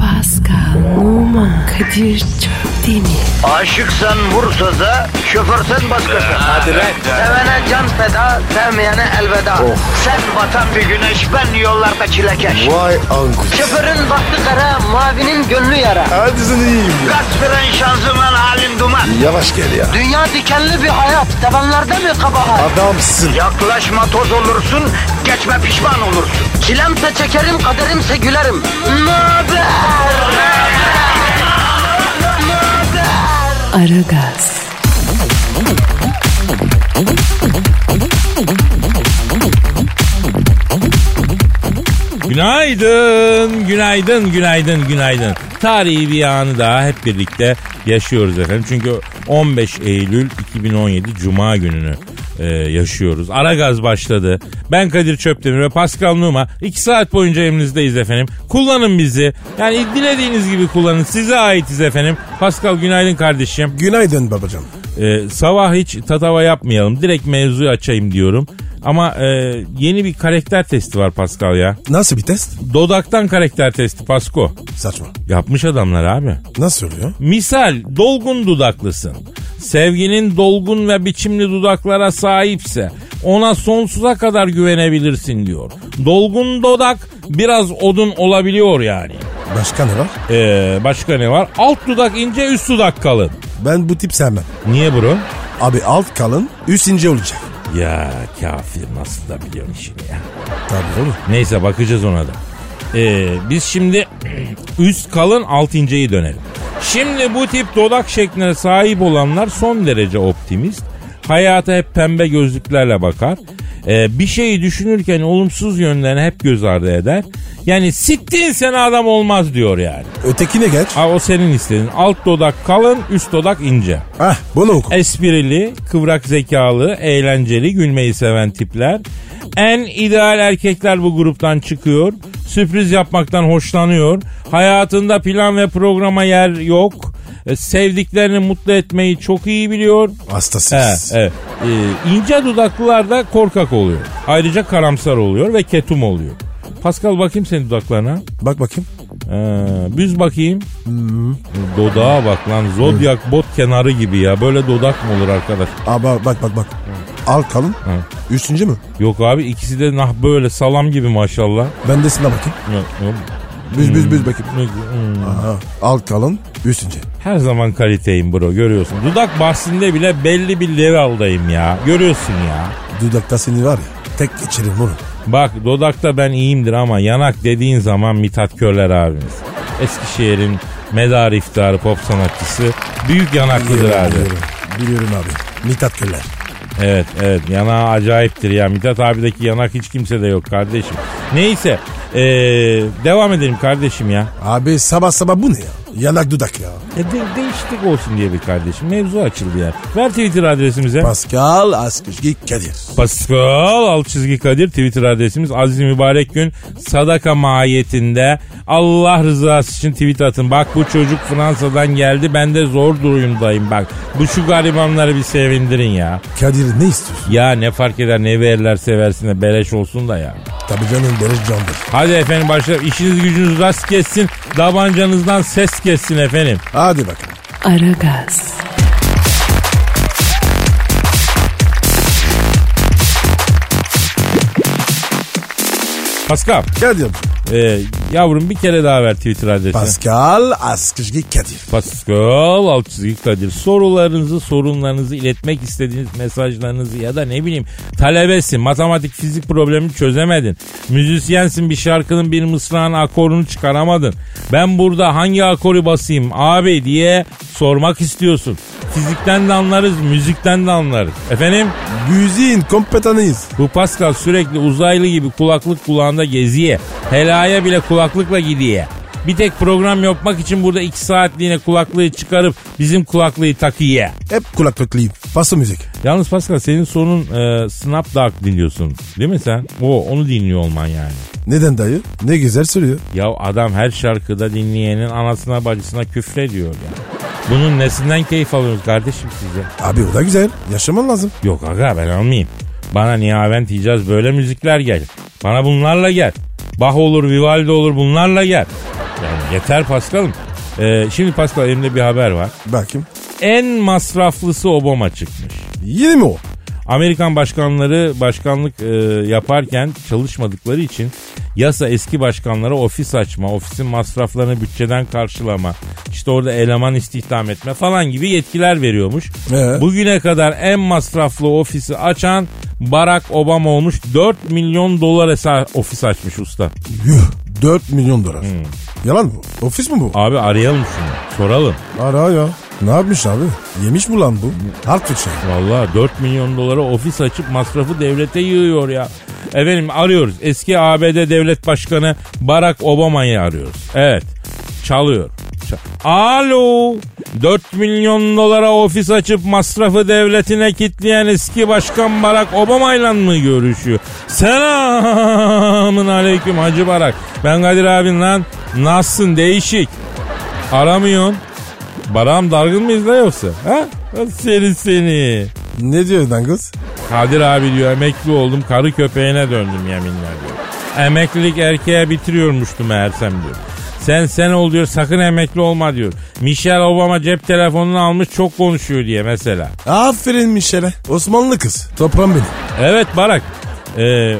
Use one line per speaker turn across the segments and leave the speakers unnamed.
Pascal, Oman, Kadir çok değil mi?
Aşıksan vursa da şoförsen başkasın. Hadi
lan. Oh.
Sevene can feda, sevmeyene elveda. Sen batan bir güneş, ben yollarda çilekeş.
Vay anku.
Şoförün baktı kara, mavinin gönlü yara.
Hadi sen iyiyim ya.
Kasperen şanzıman halin duman.
Yavaş gel ya.
Dünya dikenli bir hayat, sevenlerde mi kabahar?
Adamsın.
Yaklaşma toz olursun, geçme pişman olursun. Çilemse çekerim, kaderimse gülerim. Möber!
Aragaz,
Günaydın, günaydın, günaydın, günaydın. Tarihi bir anı daha hep birlikte yaşıyoruz efendim. Çünkü 15 Eylül 2017 Cuma gününü e, yaşıyoruz. Ara gaz başladı. Ben Kadir Çöptemir ve Pascal Numa. 2 saat boyunca elinizdeyiz efendim. Kullanın bizi. Yani dilediğiniz gibi kullanın. Size aitiz efendim. Pascal günaydın kardeşim.
Günaydın babacığım.
Ee, sabah hiç tatava yapmayalım. Direkt mevzuyu açayım diyorum. Ama e, yeni bir karakter testi var Pascal ya.
Nasıl bir test?
Dodaktan karakter testi Pasko.
Saçma.
Yapmış adamlar abi.
Nasıl oluyor?
Misal dolgun dudaklısın. Sevginin dolgun ve biçimli dudaklara sahipse ona sonsuza kadar güvenebilirsin diyor. Dolgun dudak biraz odun olabiliyor yani.
Başka ne var?
Ee, başka ne var? Alt dudak ince üst dudak kalın.
Ben bu tip sevmem.
Niye bro?
Abi alt kalın, üst ince olacak.
Ya kafir nasıl da biliyorum şimdi ya.
Tabii oğlum.
Neyse bakacağız ona da. Ee, biz şimdi üst kalın alt inceyi dönelim. Şimdi bu tip dodak şekline sahip olanlar son derece optimist. Hayata hep pembe gözlüklerle bakar. Ee, bir şeyi düşünürken olumsuz yönlerini hep göz ardı eder. Yani sittin sen adam olmaz diyor yani.
Ötekine geç.
Ha, o senin istediğin. Alt dodak kalın, üst dodak ince.
Ah bunu oku.
Esprili, kıvrak zekalı, eğlenceli, gülmeyi seven tipler. En ideal erkekler bu gruptan çıkıyor. Sürpriz yapmaktan hoşlanıyor. Hayatında plan ve programa yer yok. E, Sevdiklerini mutlu etmeyi çok iyi biliyor.
Hastasıyız.
He, evet. Ee, ince dudaklılar da korkak oluyor. Ayrıca karamsar oluyor ve ketum oluyor. Pascal bakayım senin dudaklarına.
Bak bakayım.
Ee, büz bakayım. Dodağa bak lan. Zodyak bot kenarı gibi ya. Böyle dodak mı olur arkadaş?
Aba bak bak bak. Alt kalın,
Hı.
üst ince mi?
Yok abi ikisi de nah böyle salam gibi maşallah.
Ben de sana bakayım. Büz büz büz bakayım. Aha. Alt kalın, üst ince.
Her zaman kaliteyim bro görüyorsun. Dudak bahsinde bile belli bir leveldayım ya. Görüyorsun ya.
Dudakta seni var ya. Tek geçiririm oğlum.
Bak dodakta ben iyiyimdir ama yanak dediğin zaman Mithat Körler abimiz. Eskişehir'in medar iftiharı pop sanatçısı büyük yanaklıdır abi.
Biliyorum, biliyorum abi. Mithat Köller.
Evet evet yanağı acayiptir ya. Mithat abideki yanak hiç kimse de yok kardeşim. Neyse ee, devam edelim kardeşim ya.
Abi sabah sabah bu ne ya? Yanak dudak ya.
E de- değişiklik olsun diye bir kardeşim. Mevzu açıldı ya. Ver Twitter adresimize.
Pascal Askışki Kadir.
Pascal alt çizgi Kadir Twitter adresimiz Aziz Mübarek Gün sadaka mahiyetinde Allah rızası için tweet atın. Bak bu çocuk Fransa'dan geldi ben de zor durumdayım bak. Bu şu garibanları bir sevindirin ya.
Kadir ne istiyorsun?
Ya ne fark eder ne verirler seversin de beleş olsun da ya.
Tabii canım Barış Candır.
Hadi efendim başlayalım. İşiniz gücünüz rast kessin. Davancanızdan ses kessin efendim.
Hadi bakalım.
Aragaz,
Pascal
Kadir.
e, yavrum bir kere daha ver Twitter adresini.
Pascal Askışki Kadir.
Pascal alt çizgi Kadir. Sorularınızı, sorunlarınızı iletmek istediğiniz mesajlarınızı ya da ne bileyim talebesin, matematik, fizik problemi çözemedin. Müzisyensin bir şarkının bir mısrağın akorunu çıkaramadın. Ben burada hangi akoru basayım abi diye sormak istiyorsun. Fizikten de anlarız, müzikten de anlarız. Efendim?
Müziğin kompetanıyız.
Bu Pascal sürekli uzaylı gibi kulaklık kulağında geziye. Helaya bile kulaklıkla gidiye. Bir tek program yapmak için burada iki saatliğine kulaklığı çıkarıp bizim kulaklığı takıya.
Hep kulaklıklıyım. Faslı müzik.
Yalnız Pascal senin sorun e, Snapdark dinliyorsun değil mi sen? O onu dinliyor olman yani.
Neden dayı? Ne güzel söylüyor.
Ya adam her şarkıda dinleyenin anasına bacısına küfrediyor ya. Bunun nesinden keyif alıyoruz kardeşim size?
Abi o da güzel. Yaşaman lazım.
Yok aga ben almayayım. Bana Nihavent Hicaz böyle müzikler gel. Bana bunlarla gel. Bach olur, Vivaldi olur bunlarla gel. Yani yeter Paskal'ım. Ee, şimdi Pascal elimde bir haber var.
Bakayım.
En masraflısı Obama çıkmış.
Yeni mi o?
Amerikan başkanları başkanlık e, yaparken çalışmadıkları için yasa eski başkanlara ofis açma, ofisin masraflarını bütçeden karşılama, işte orada eleman istihdam etme falan gibi yetkiler veriyormuş.
Ee?
Bugüne kadar en masraflı ofisi açan Barack Obama olmuş. 4 milyon dolar hesa- ofis açmış usta.
Yuh, 4 milyon dolar. Yalan mı? Ofis mi bu?
Abi arayalım şunu, soralım.
Ara ya. Ne yapmış abi? Yemiş mi lan bu? Harp fıçı.
Vallahi 4 milyon dolara ofis açıp masrafı devlete yığıyor ya. Efendim arıyoruz. Eski ABD devlet başkanı Barack Obama'yı arıyoruz. Evet. Çalıyor. Ç- Alo. 4 milyon dolara ofis açıp masrafı devletine kitleyen eski başkan Barack Obama'yla mı görüşüyor? Selamın aleyküm Hacı Barak. Ben Kadir abin lan. Nasılsın değişik. Aramıyorsun. Baram dargın mıyız la yoksa? Ha? Seni seni.
Ne diyor lan kız?
Kadir abi diyor emekli oldum karı köpeğine döndüm yeminler diyor. Emeklilik erkeğe bitiriyormuştu meğersem diyor. Sen sen ol diyor sakın emekli olma diyor. Michelle Obama cep telefonunu almış çok konuşuyor diye mesela.
Aferin Mişel'e. Osmanlı kız. Toprağım benim.
Evet Barak. Ee,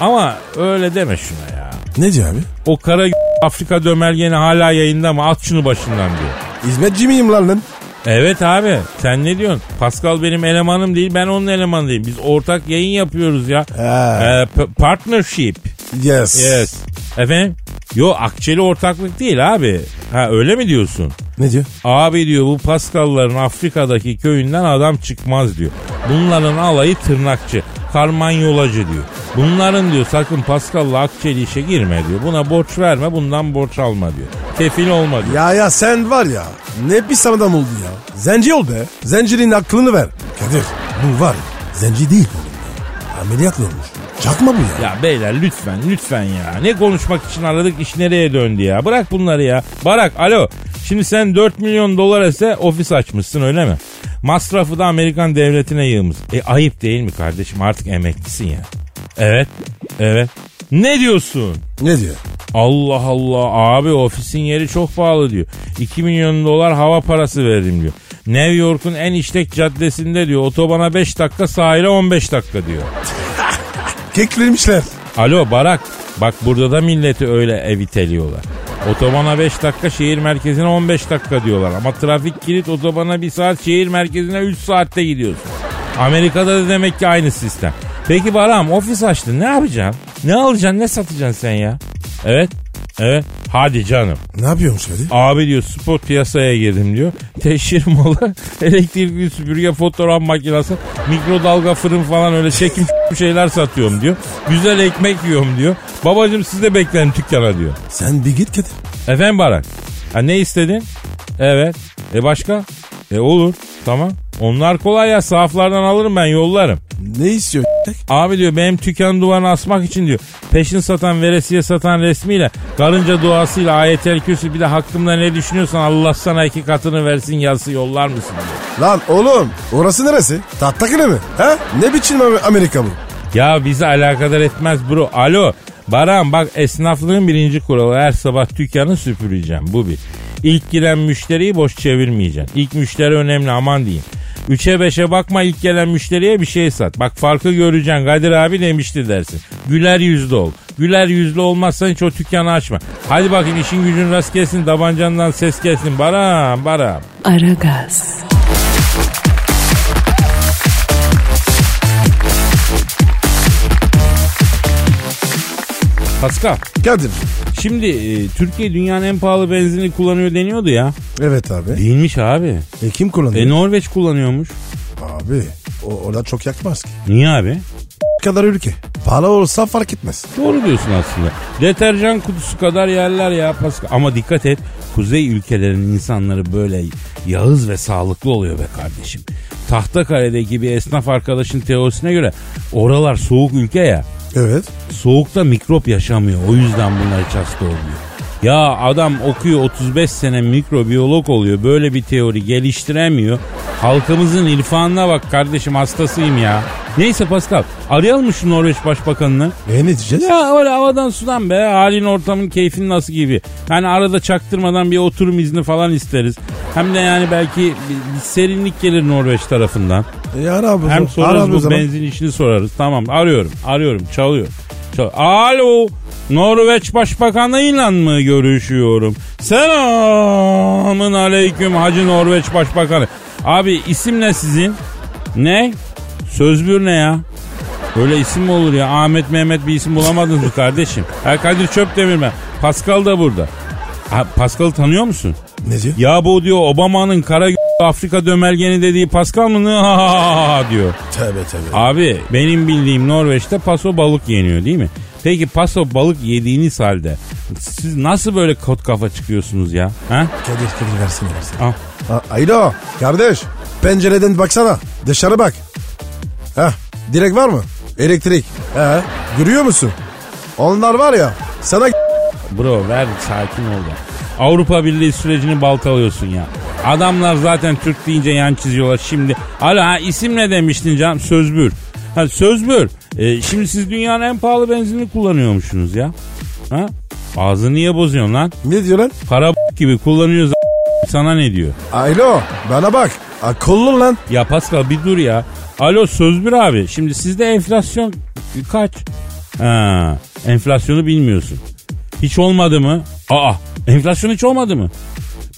ama öyle deme şuna ya.
Ne diyor abi?
O kara Afrika dömergeni hala yayında mı at şunu başından diyor.
Hizmetçi miyim lan lan?
Evet abi sen ne diyorsun? Pascal benim elemanım değil ben onun elemanıyım. Biz ortak yayın yapıyoruz ya.
He.
Ee, p- partnership.
Yes.
Yes. Efendim? Yo akçeli ortaklık değil abi. Ha öyle mi diyorsun?
Ne diyor?
Abi diyor bu Paskalların Afrika'daki köyünden adam çıkmaz diyor. Bunların alayı tırnakçı, karmanyolacı diyor. Bunların diyor sakın Paskal'la Akçeli işe girme diyor. Buna borç verme bundan borç alma diyor. Kefil olma diyor.
Ya ya sen var ya ne pis adam oldun ya. Zenci ol be. Zencinin aklını ver. Kadir bu var ya, zenci değil oğlum ya. Ameliyatlı olmuş. Çakma bu ya.
Ya beyler lütfen lütfen ya. Ne konuşmak için aradık iş nereye döndü ya. Bırak bunları ya. Barak alo. Şimdi sen 4 milyon dolar ise ofis açmışsın öyle mi? Masrafı da Amerikan devletine yığmış. E ayıp değil mi kardeşim artık emeklisin ya. Evet. Evet. Ne diyorsun?
Ne diyor?
Allah Allah abi ofisin yeri çok pahalı diyor. 2 milyon dolar hava parası veririm diyor. New York'un en işlek caddesinde diyor. Otobana 5 dakika sahile 15 dakika diyor.
Keklemişler.
Alo Barak bak burada da milleti öyle ev iteliyorlar. Otobana 5 dakika şehir merkezine 15 dakika diyorlar. Ama trafik kilit otobana 1 saat şehir merkezine 3 saatte gidiyorsun. Amerika'da da demek ki aynı sistem. Peki Barak'ım ofis açtın ne yapacaksın? Ne alacaksın ne satacaksın sen ya? Evet evet hadi canım.
Ne yapıyormuş Kadir?
Abi diyor spor piyasaya girdim diyor. Teşhir malı, elektrikli süpürge, fotoğraf makinesi, mikrodalga fırın falan öyle çekim şeyler satıyorum diyor. Güzel ekmek yiyorum diyor. Babacım siz de bekleyin dükkana diyor.
Sen bir git Kadir.
Efendim Barak? Ha, ne istedin? Evet. E başka? E olur. Tamam. Onlar kolay ya sahaflardan alırım ben yollarım.
Ne istiyor?
Abi diyor benim tüken duvarını asmak için diyor. Peşin satan veresiye satan resmiyle karınca duasıyla ayetel kürsü bir de hakkımda ne düşünüyorsan Allah sana iki katını versin yazısı yollar mısın diyor.
Lan oğlum orası neresi? Tatlıkını mi? Ha? Ne biçim Am- Amerika bu?
Ya bizi alakadar etmez bro. Alo Baran bak esnaflığın birinci kuralı her sabah dükkanı süpüreceğim bu bir. İlk giren müşteriyi boş çevirmeyeceksin. İlk müşteri önemli aman diyeyim. Üçe beşe bakma ilk gelen müşteriye bir şey sat. Bak farkı göreceksin Kadir abi demişti dersin. Güler yüzlü ol. Güler yüzlü olmazsan hiç o dükkanı açma. Hadi bakayım işin gücün rast gelsin tabancandan ses gelsin. Baran baran.
Aragaz,
Pascal
Kadir.
şimdi e, Türkiye dünyanın en pahalı benzinini kullanıyor deniyordu ya.
Evet abi.
Değilmiş abi.
E kim kullanıyor?
E Norveç kullanıyormuş.
Abi o, orada çok yakmaz ki.
Niye abi?
kadar ülke. Pahalı olsa fark etmez.
Doğru diyorsun aslında. Deterjan kutusu kadar yerler ya Pascal. Ama dikkat et kuzey ülkelerinin insanları böyle yağız ve sağlıklı oluyor be kardeşim. Tahtakale'deki bir esnaf arkadaşın teorisine göre oralar soğuk ülke ya.
Evet.
Soğukta mikrop yaşamıyor. O yüzden bunlar hiç hasta olmuyor. Ya adam okuyor 35 sene mikrobiyolog oluyor. Böyle bir teori geliştiremiyor. Halkımızın irfanına bak kardeşim hastasıyım ya. Neyse Pascal arayalım mı şu Norveç Başbakanını?
E ne diyeceğiz?
Ya öyle havadan sudan be halin ortamın keyfin nasıl gibi. Hani arada çaktırmadan bir oturum izni falan isteriz. Hem de yani belki bir, bir serinlik gelir Norveç tarafından.
E ara abi. o
Hem
zaman, ara
sorarız
abi o
bu
zaman.
benzin işini sorarız. Tamam arıyorum arıyorum çalıyor. Çal- Alo Norveç Başbakanı'yla mı görüşüyorum? Selamın aleyküm Hacı Norveç Başbakanı. Abi isim ne sizin? Ne? Sözbür ne ya? Böyle isim mi olur ya? Ahmet Mehmet bir isim bulamadınız mı kardeşim? Ha Kadir Çöpdemir ben. Pascal da burada. Ha, Pascal'ı tanıyor musun?
Ne diyor?
Ya bu diyor Obama'nın kara Afrika dömelgeni dediği Pascal mı? Ha diyor.
Tövbe tövbe.
Abi benim bildiğim Norveç'te paso balık yeniyor değil mi? Peki paso balık yediğiniz halde siz nasıl böyle kot kafa çıkıyorsunuz ya? Ha? Ah.
Kadir Kadir versene versene.
Al.
Ha, Alo kardeş pencereden baksana dışarı bak. Ha direk var mı? Elektrik. He görüyor musun? Onlar var ya sana
Bro ver sakin ol da. Avrupa Birliği sürecini baltalıyorsun ya. Adamlar zaten Türk deyince yan çiziyorlar şimdi. Alo ha isim ne demiştin canım? Sözbür. Ha Sözbür. E, şimdi siz dünyanın en pahalı benzinini kullanıyormuşsunuz ya. Ha? Ağzını niye bozuyorsun lan?
ne diyor lan?
Para gibi kullanıyoruz sana ne diyor?
Alo bana bak akıllı lan.
Ya Pascal bir dur ya. Alo Sözbür abi. Şimdi sizde enflasyon kaç? Ha, enflasyonu bilmiyorsun. Hiç olmadı mı? Aa enflasyon hiç olmadı mı?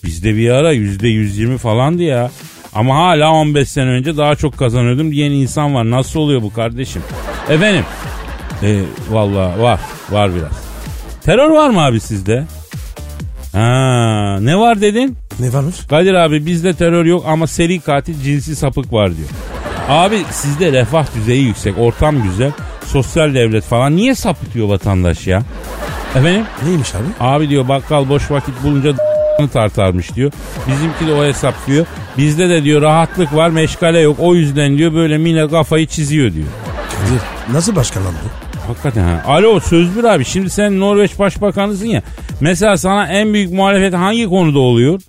Bizde bir ara yüzde 120 falandı ya. Ama hala 15 sene önce daha çok kazanıyordum diyen insan var. Nasıl oluyor bu kardeşim? Efendim? E, Valla var. Var biraz. Terör var mı abi sizde? Ha, ne var dedin?
Ne varmış?
Kadir abi bizde terör yok ama seri katil cinsi sapık var diyor. Abi sizde refah düzeyi yüksek, ortam güzel, sosyal devlet falan. Niye sapıtıyor vatandaş ya? Efendim?
Neymiş abi?
Abi diyor bakkal boş vakit bulunca d***nı tartarmış diyor. Bizimki de o hesap diyor. Bizde de diyor rahatlık var, meşgale yok. O yüzden diyor böyle mine kafayı çiziyor diyor.
Kadir nasıl başkan lan bu?
Hakikaten ha. Alo Sözbür abi şimdi sen Norveç Başbakanısın ya. Mesela sana en büyük muhalefet hangi konuda oluyor?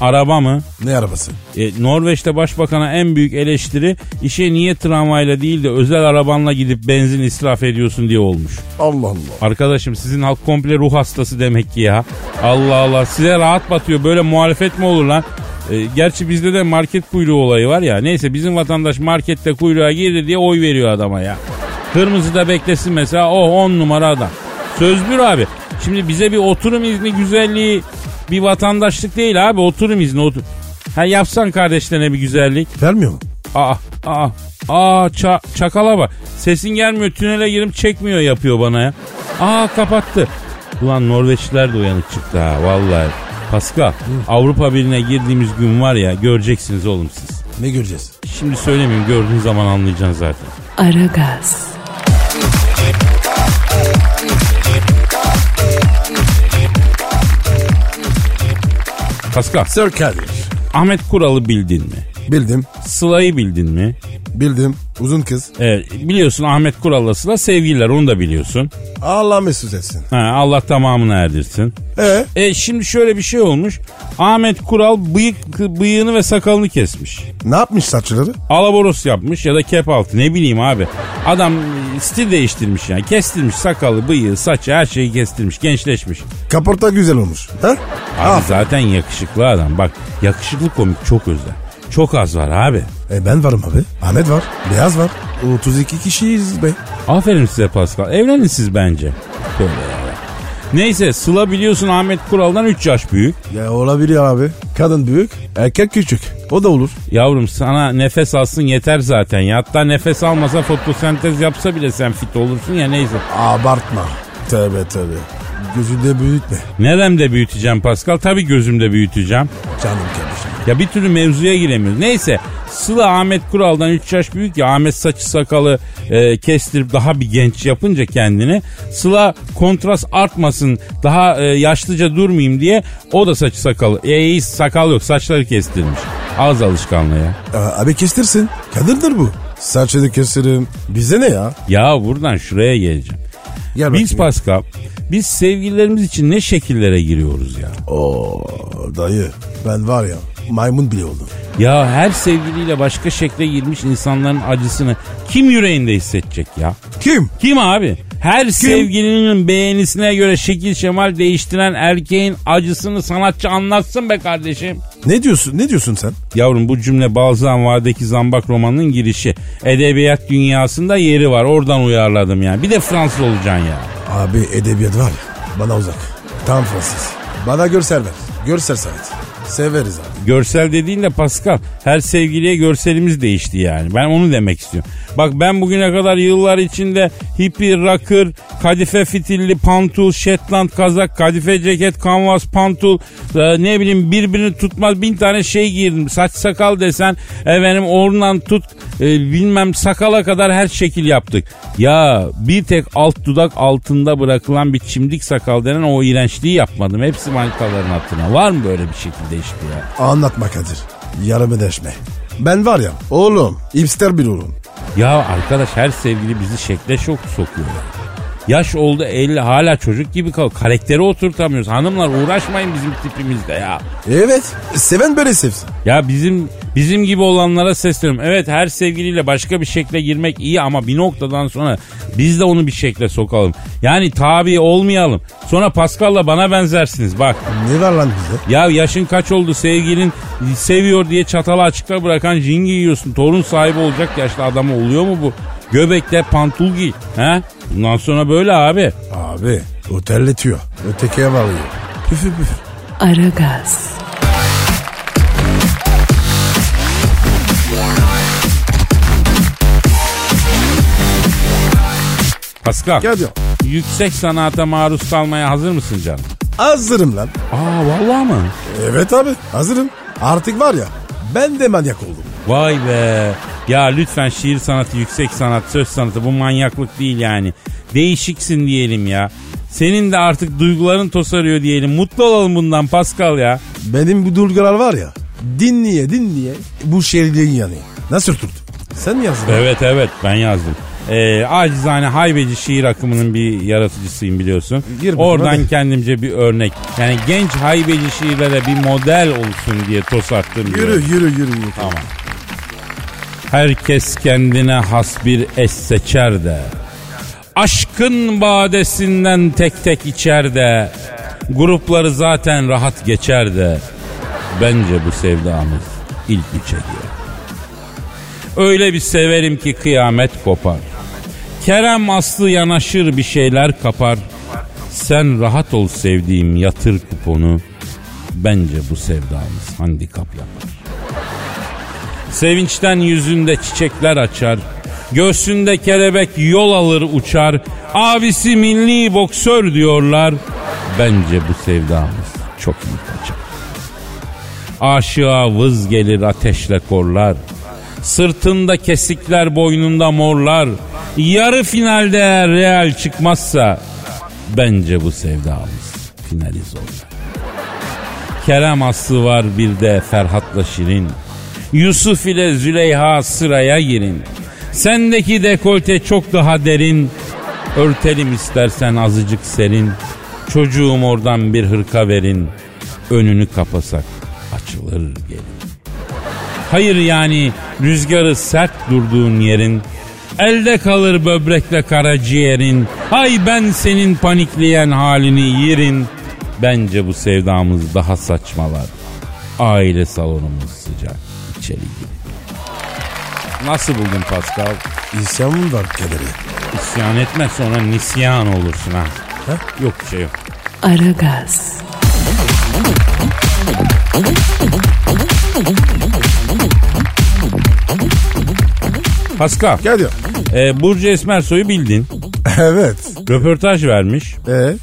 Araba mı?
Ne arabası?
E, Norveç'te başbakana en büyük eleştiri işe niye tramvayla değil de özel arabanla gidip benzin israf ediyorsun diye olmuş.
Allah Allah.
Arkadaşım sizin halk komple ruh hastası demek ki ya. Allah Allah size rahat batıyor böyle muhalefet mi olur lan? E, gerçi bizde de market kuyruğu olayı var ya. Neyse bizim vatandaş markette kuyruğa girdi diye oy veriyor adama ya. Kırmızıda beklesin mesela o 10 numara adam. Sözbür abi. Şimdi bize bir oturum izni güzelliği bir vatandaşlık değil abi oturum izni otur. Ha yapsan kardeşlerine bir güzellik.
Vermiyor mu?
Aa, aa, aa ça- çakala bak. Sesin gelmiyor tünele girip çekmiyor yapıyor bana ya. Aa kapattı. Ulan Norveçliler de uyanık çıktı ha vallahi. Pascal Avrupa Birliği'ne girdiğimiz gün var ya göreceksiniz oğlum siz.
Ne göreceğiz?
Şimdi söylemeyeyim gördüğün zaman anlayacaksın zaten.
Aragaz,
Pascal
Sir Kadir.
Ahmet Kural'ı bildin mi?
Bildim.
Sıla'yı bildin mi?
Bildim. Uzun kız.
Evet, biliyorsun Ahmet Kural'la Sıla sevgililer onu da biliyorsun.
Allah mesut etsin.
Ha, Allah tamamını erdirsin.
E
E şimdi şöyle bir şey olmuş. Ahmet Kural bıyık bıyığını ve sakalını kesmiş.
ne yapmış saçları?
Alaboros yapmış ya da kep altı ne bileyim abi. Adam e, stil değiştirmiş yani. Kestirmiş sakalı, bıyığı, saçı her şeyi kestirmiş. Gençleşmiş.
Kaporta güzel olmuş. Ha?
Abi zaten yakışıklı adam. Bak yakışıklı komik çok özel. Çok az var abi.
E ben varım abi. Ahmet var. Beyaz var. 32 kişiyiz be.
Aferin size Pascal. Evlenin siz bence. Böyle yani. Neyse Sıla biliyorsun Ahmet Kural'dan 3 yaş büyük.
Ya olabilir abi. Kadın büyük, erkek küçük. O da olur.
Yavrum sana nefes alsın yeter zaten ya. Hatta nefes almasa fotosentez yapsa bile sen fit olursun ya neyse.
Abartma. Tövbe tövbe. Gözünde büyütme.
Neremde büyüteceğim Pascal? Tabii gözümde büyüteceğim.
Canım kardeşim.
Ya bir türlü mevzuya giremiyoruz. Neyse Sıla Ahmet Kural'dan 3 yaş büyük ya Ahmet saçı sakalı e, kestirip daha bir genç yapınca kendini Sıla kontrast artmasın daha e, yaşlıca durmayayım diye o da saçı sakalı. E hiç sakal yok saçları kestirmiş. Az alışkanlığı ya.
Aa, E, abi kestirsin. Kadındır bu. Saçını kestirim. Bize ne ya?
Ya buradan şuraya geleceğim.
Gel bakayım.
Biz Pascal, biz sevgililerimiz için ne şekillere giriyoruz ya?
Oo dayı ben var ya maymun bile oldum.
Ya her sevgiliyle başka şekle girmiş insanların acısını kim yüreğinde hissedecek ya?
Kim?
Kim abi? Her sevgilinin beğenisine göre şekil şemal değiştiren erkeğin acısını sanatçı anlatsın be kardeşim.
Ne diyorsun? Ne diyorsun sen?
Yavrum bu cümle Balzan Vadeki Zambak romanının girişi. Edebiyat dünyasında yeri var. Oradan uyarladım yani. Bir de Fransız olacaksın ya.
Abi edebiyat var ya bana uzak. Tam Fransız. Bana görsel ver. Görsel sanat. Severiz abi.
Görsel dediğinle Pascal her sevgiliye görselimiz değişti yani. Ben onu demek istiyorum. Bak ben bugüne kadar yıllar içinde hippi, rocker, kadife fitilli, pantul, şetland, kazak, kadife ceket, kanvas, pantul, e, ne bileyim birbirini tutmaz bin tane şey giydim. Saç sakal desen efendim oradan tut e, bilmem sakala kadar her şekil yaptık. Ya bir tek alt dudak altında bırakılan bir çimdik sakal denen o iğrençliği yapmadım. Hepsi manitaların altına. Var mı böyle bir şekil değişti ya?
Anlatma Kadir. Yarımı deşme. Ben var ya oğlum hipster bir oğlum.
Ya arkadaş her sevgili bizi şekle şok sokuyor ya. Yaş oldu 50 hala çocuk gibi kal. Karakteri oturtamıyoruz. Hanımlar uğraşmayın bizim tipimizde ya.
Evet seven böyle sevsin.
Ya bizim bizim gibi olanlara sesleniyorum. Evet her sevgiliyle başka bir şekle girmek iyi ama bir noktadan sonra biz de onu bir şekle sokalım. Yani tabi olmayalım. Sonra Pascal'la bana benzersiniz bak.
Ne var lan bize?
Ya yaşın kaç oldu sevgilin seviyor diye çatalı açıkta bırakan jingi yiyorsun. Torun sahibi olacak yaşlı adamı oluyor mu bu? Göbekte pantul giy. He? Bundan sonra böyle abi.
Abi o terletiyor. Ötekiye varıyor. Püfü püfü.
Aragaz,
Pascal.
Gel diyor.
Yüksek sanata maruz kalmaya hazır mısın canım?
Hazırım lan.
Aa vallahi mı?
Evet abi hazırım. Artık var ya ben de manyak oldum.
Vay be. Ya lütfen şiir sanatı, yüksek sanat, söz sanatı bu manyaklık değil yani. Değişiksin diyelim ya. Senin de artık duyguların tosarıyor diyelim. Mutlu olalım bundan Pascal ya.
Benim bu duygular var ya dinleye dinleye bu şehirliğin yani. Nasıl tuttu? Sen mi yazdın?
Evet evet ben yazdım. Ee, acizane haybeci şiir akımının bir yaratıcısıyım biliyorsun.
Gir bakalım,
Oradan
hadi.
kendimce bir örnek. Yani genç haybeci şiirlere bir model olsun diye tosarttım. bir
Yürü yürü yürü. yürü.
Tamam. Herkes kendine has bir eş seçer de. Aşkın badesinden tek tek içer de. Grupları zaten rahat geçer de. Bence bu sevdamız ilk üçe girer. Öyle bir severim ki kıyamet kopar. Kerem Aslı yanaşır bir şeyler kapar. Sen rahat ol sevdiğim yatır kuponu. Bence bu sevdamız handikap yapar. Sevinçten yüzünde çiçekler açar. Göğsünde kelebek yol alır uçar. Abisi milli boksör diyorlar. Bence bu sevdamız çok iyi kaçar. Aşığa vız gelir ateşle korlar. Sırtında kesikler boynunda morlar. Yarı finalde eğer real çıkmazsa bence bu sevdamız finaliz olur. Kerem Aslı var bir de Ferhat'la Şirin. Yusuf ile Züleyha sıraya girin. Sendeki dekolte çok daha derin. Örtelim istersen azıcık serin. Çocuğum oradan bir hırka verin. Önünü kapasak açılır gelin. Hayır yani rüzgarı sert durduğun yerin. Elde kalır böbrekle karaciğerin. Hay ben senin panikleyen halini yerin. Bence bu sevdamız daha saçmalar. Aile salonumuz sıcak. İçeri gir. Nasıl buldun Pascal?
İsyan mı var Kadir'e?
İsyan etme sonra nisyan olursun ha. Yok bir şey yok.
Aragaz,
Pascal,
Gel diyor.
e, Burcu Esmersoy'u bildin.
Evet.
Röportaj vermiş.
Ee,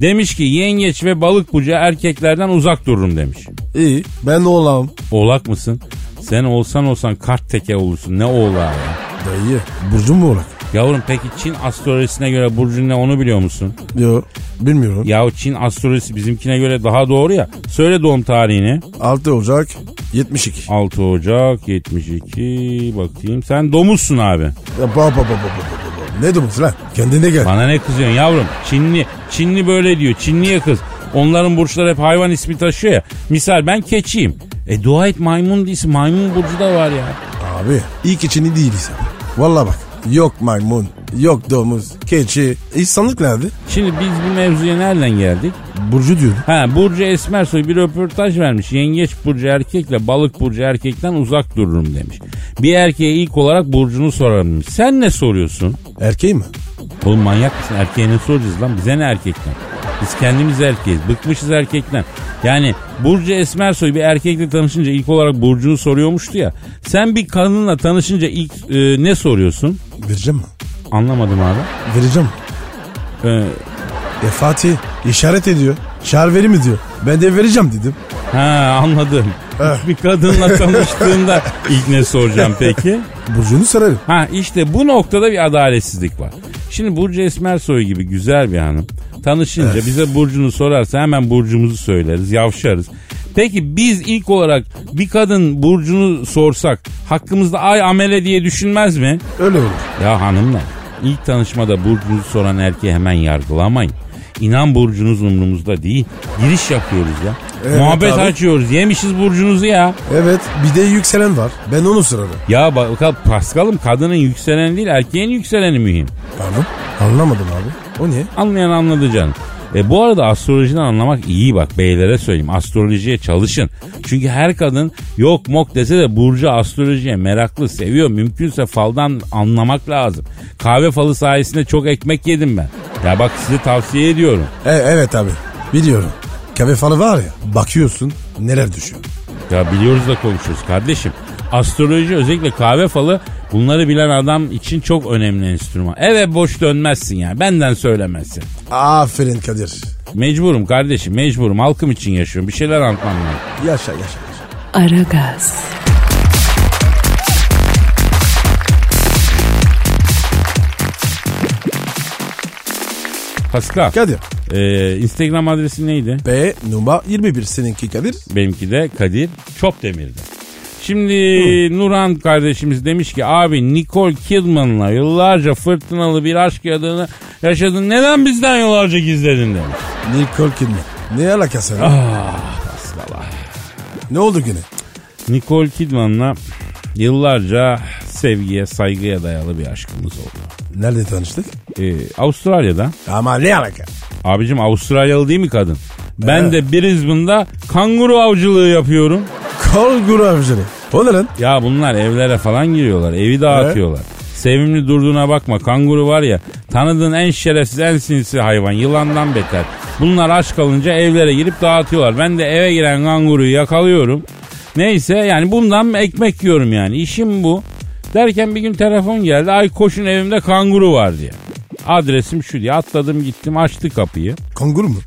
Demiş ki yengeç ve balık burcu erkeklerden uzak dururum demiş.
iyi. Ben oğlam.
Oğlak mısın? Sen olsan olsan kart teke olursun. Ne oğlağı ya?
Dayı. Burcu mu oğlak?
Yavrum peki Çin astrolojisine göre burcun ne onu biliyor musun?
Yok. Bilmiyorum.
Yahu Çin astrolojisi bizimkine göre daha doğru ya. Söyle doğum tarihini.
6 Ocak 72.
6 Ocak 72 bakayım. Sen domuzsun abi.
Ya, ba, ba, ba, ba, ba, ba, ba. Ne dumuz lan? Kendine gel.
Bana ne kızıyorsun yavrum? Çinli, Çinli böyle diyor. Çinliye kız. Onların burçları hep hayvan ismi taşıyor ya. Misal ben keçiyim. E dua et maymun değilsin. Maymun burcu da var ya.
Abi ilk içini değiliz. Valla bak. Yok maymun, yok domuz, keçi. İnsanlık nerede?
Şimdi biz bu mevzuya nereden geldik?
Burcu diyor.
Ha Burcu Esmersoy bir röportaj vermiş. Yengeç Burcu erkekle balık Burcu erkekten uzak dururum demiş. Bir erkeğe ilk olarak Burcu'nu sorarım demiş. Sen ne soruyorsun?
Erkeği mi?
Oğlum manyak mısın? Erkeğe ne soracağız lan? Bize ne erkekten? Biz kendimiz erkeğiz. Bıkmışız erkekten. Yani Burcu Esmersoy bir erkekle tanışınca ilk olarak Burcu'nu soruyormuştu ya. Sen bir kadınla tanışınca ilk e, ne soruyorsun?
Vereceğim mi?
Anlamadım abi.
Vereceğim mi?
E,
E Fatih işaret ediyor. Çağır veri mi diyor. Ben de vereceğim dedim.
ha anladım. Bir kadınla tanıştığında ilk ne soracağım peki?
Burcu'nu sararım.
Ha işte bu noktada bir adaletsizlik var. Şimdi Burcu Esmersoy gibi güzel bir hanım tanışınca bize Burcu'nu sorarsa hemen Burcu'muzu söyleriz, yavşarız. Peki biz ilk olarak bir kadın Burcu'nu sorsak hakkımızda ay amele diye düşünmez mi?
Öyle olur.
Ya hanımlar ilk tanışmada Burcu'nuzu soran erkeği hemen yargılamayın. İnan Burcu'nuz umrumuzda değil. Giriş yapıyoruz ya.
Evet
Muhabbet
abi.
açıyoruz. Yemişiz Burcu'nuzu ya.
Evet bir de yükselen var. Ben onu sorarım.
Ya bak Paskal'ım kadının yükseleni değil erkeğin yükseleni mühim.
Pardon? Anlamadım abi. O niye?
Anlayan anladı canım. E bu arada astrolojiden anlamak iyi bak beylere söyleyeyim. Astrolojiye çalışın. Çünkü her kadın yok mok dese de Burcu astrolojiye meraklı seviyor. Mümkünse faldan anlamak lazım. Kahve falı sayesinde çok ekmek yedim ben. Ya bak size tavsiye ediyorum.
E, evet abi biliyorum. Kahve falı var ya bakıyorsun neler düşüyor.
Ya biliyoruz da konuşuyoruz kardeşim. Astroloji özellikle kahve falı bunları bilen adam için çok önemli enstrüman. Eve boş dönmezsin ya benden söylemezsin.
Aferin Kadir.
Mecburum kardeşim mecburum halkım için yaşıyorum bir şeyler anlatmam lazım.
Yaşa yaşa. yaşa.
Aragaz,
Pascal.
Kadir.
Ee, Instagram adresi neydi?
B numara 21 seninki Kadir.
Benimki de Kadir Çopdemir'di. Şimdi Nurhan kardeşimiz demiş ki abi Nicole Kidman'la yıllarca fırtınalı bir aşk yaşadığını, yaşadın neden bizden yıllarca gizledin demiş.
Nicole Kidman. Ne alakası var? Ne oldu güne?
Nicole Kidman'la yıllarca sevgiye saygıya dayalı bir aşkımız oldu.
Nerede tanıştık?
Ee, Avustralya'da.
Ama ne alaka?
Abicim Avustralyalı değil mi kadın? Ben
Evet.
de Brisbane'da kanguru avcılığı yapıyorum.
Kol guru avcını. O ne lan?
Ya bunlar evlere falan giriyorlar. Evi dağıtıyorlar. Sevimli durduğuna bakma. Kanguru var ya tanıdığın en şerefsiz en sinsi hayvan. Yılandan beter. Bunlar aç kalınca evlere girip dağıtıyorlar. Ben de eve giren kanguruyu yakalıyorum. Neyse yani bundan ekmek yiyorum yani. İşim bu. Derken bir gün telefon geldi. Ay koşun evimde kanguru var diye. Adresim şu diye atladım gittim açtı kapıyı.
Kanguru mu?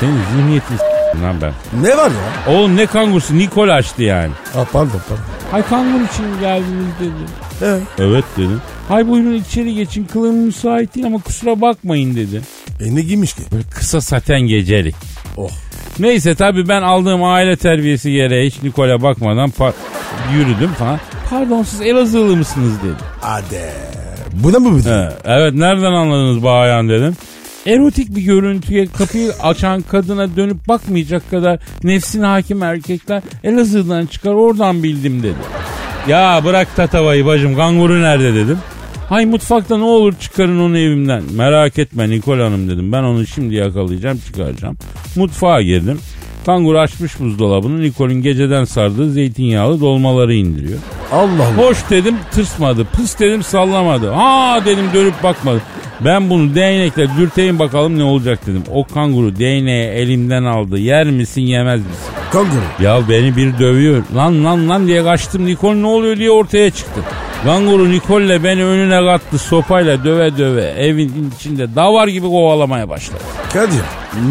Senin zihniyetin s- lan ben.
Ne var ya?
Oğlum ne kangurusu Nikol açtı yani.
Ha, Ah, pardon pardon.
Ay kanguru için mi geldiniz dedi.
He.
Evet dedim. Hay buyurun içeri geçin kılığım müsait değil ama kusura bakmayın dedi.
E ne giymiş ki?
Böyle kısa saten gecelik.
Oh.
Neyse tabii ben aldığım aile terbiyesi gereği hiç Nikol'a bakmadan pa- yürüdüm falan. Pardon siz Elazığlı mısınız dedi.
Hadi. Bu da mı bir de?
He, evet nereden anladınız Bayan dedim. Erotik bir görüntüye kapıyı açan kadına dönüp bakmayacak kadar nefsine hakim erkekler Elazığ'dan çıkar oradan bildim dedi. Ya bırak tatavayı bacım kanguru nerede dedim. Hay mutfakta ne olur çıkarın onu evimden. Merak etme Nikol Hanım dedim. Ben onu şimdi yakalayacağım çıkaracağım. Mutfağa girdim. Kanguru açmış buzdolabını. Nikol'ün geceden sardığı zeytinyağlı dolmaları indiriyor.
Allah Allah.
Hoş dedim tırsmadı. Pıs dedim sallamadı. Ha dedim dönüp bakmadı. Ben bunu değnekle dürteyim bakalım ne olacak dedim. O kanguru değneği elimden aldı. Yer misin yemez misin?
Kanguru.
Ya beni bir dövüyor. Lan lan lan diye kaçtım. Nikol ne oluyor diye ortaya çıktı. Kanguru Nikol'le beni önüne kattı. Sopayla döve döve evin içinde davar gibi kovalamaya başladı.
Kadir.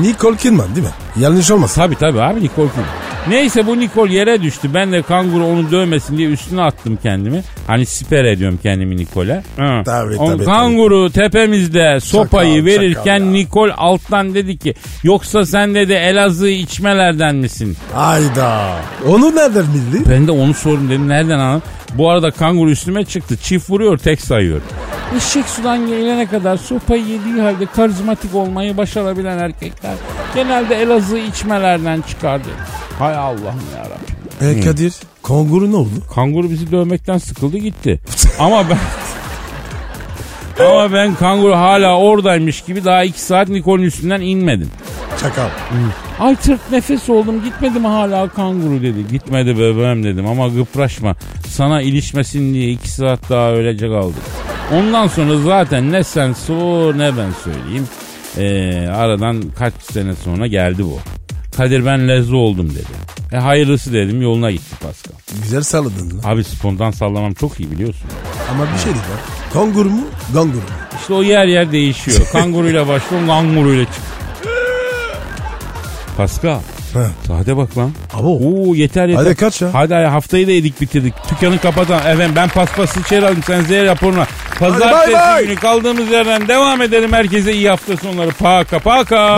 Nicole Kidman değil mi? Yanlış olmasın.
Tabi tabi abi Nikol kim? Neyse bu Nikol yere düştü. Ben de kanguru onu dövmesin diye üstüne attım kendimi. Hani siper ediyorum kendimi Nikol'e. Hı.
Tabii,
Onu
tabii,
kanguru tepemizde sopayı
Çakal,
verirken
çakal ya.
Nikol alttan dedi ki yoksa sen dedi Elazığ içmelerden misin?
Hayda. Onu nereden bildin?
Ben de onu sordum dedim nereden anladın? Bu arada kanguru üstüme çıktı. Çift vuruyor tek sayıyor.
Işık sudan gelene kadar sopayı yediği halde karizmatik olmayı başarabilen erkekler genelde Elazığ içmelerden çıkardı. Hay Allah'ım yarabbim.
E Kadir konguru ne oldu?
Kanguru bizi dövmekten sıkıldı gitti. Ama ben... Ama ben kanguru hala oradaymış gibi daha iki saat Nikon'un üstünden inmedim.
Çakal.
Ay tırt nefes oldum gitmedi mi hala
Kanguru dedi gitmedi bebeğim dedim ama gıpraşma sana ilişmesin diye iki saat daha öylece kaldık. Ondan sonra zaten ne sen sor ne ben söyleyeyim. Ee, aradan kaç sene sonra geldi bu. Kadir ben lezzetli oldum dedi. E hayırlısı dedim yoluna gitti Pascal.
Güzel salladın lan.
Abi spontan sallamam çok iyi biliyorsun.
Ama bir şey değil lan. Kongur mu? Gangur mu?
İşte o yer yer değişiyor. Kanguruyla başlıyor kanguruyla çık. Pascal.
He.
Sade bak lan.
Abo.
Oo yeter yeter.
Hadi kaç ya?
Hadi haftayı da yedik bitirdik. Dükkanı kapatan. Efendim ben paspası içeri aldım. Sen Z raporuna. Pazartesi
Hadi bay bay.
günü kaldığımız yerden devam edelim. Herkese iyi hafta sonları. Paka paka.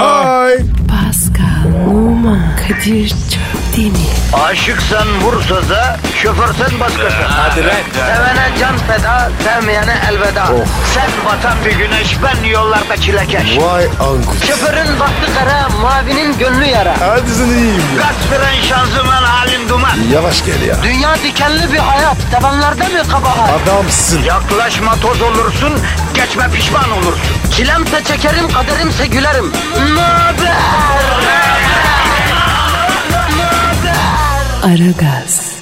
Bye.
Pascal, Oman, Kadir çok değil mi?
Aşıksan vursa da, şoförsen başkasın. Ee, Hadi lan. Oh. Sevene can feda, sevmeyene elveda. Sen batan bir güneş, ben yollarda çilekeş.
Vay anku.
Şoförün baktı kara, mavinin gönlü yara.
Hadi sen iyiyim ya.
Kasperen şanzıman halin duman.
Yavaş gel ya.
Dünya dikenli bir hayat, sevenlerde mi kabahar?
Adamsın.
Yaklaşma toz olursun, geçme pişman olursun. Çilemse çekerim, kaderimse gülerim. Möber!
Aragaz.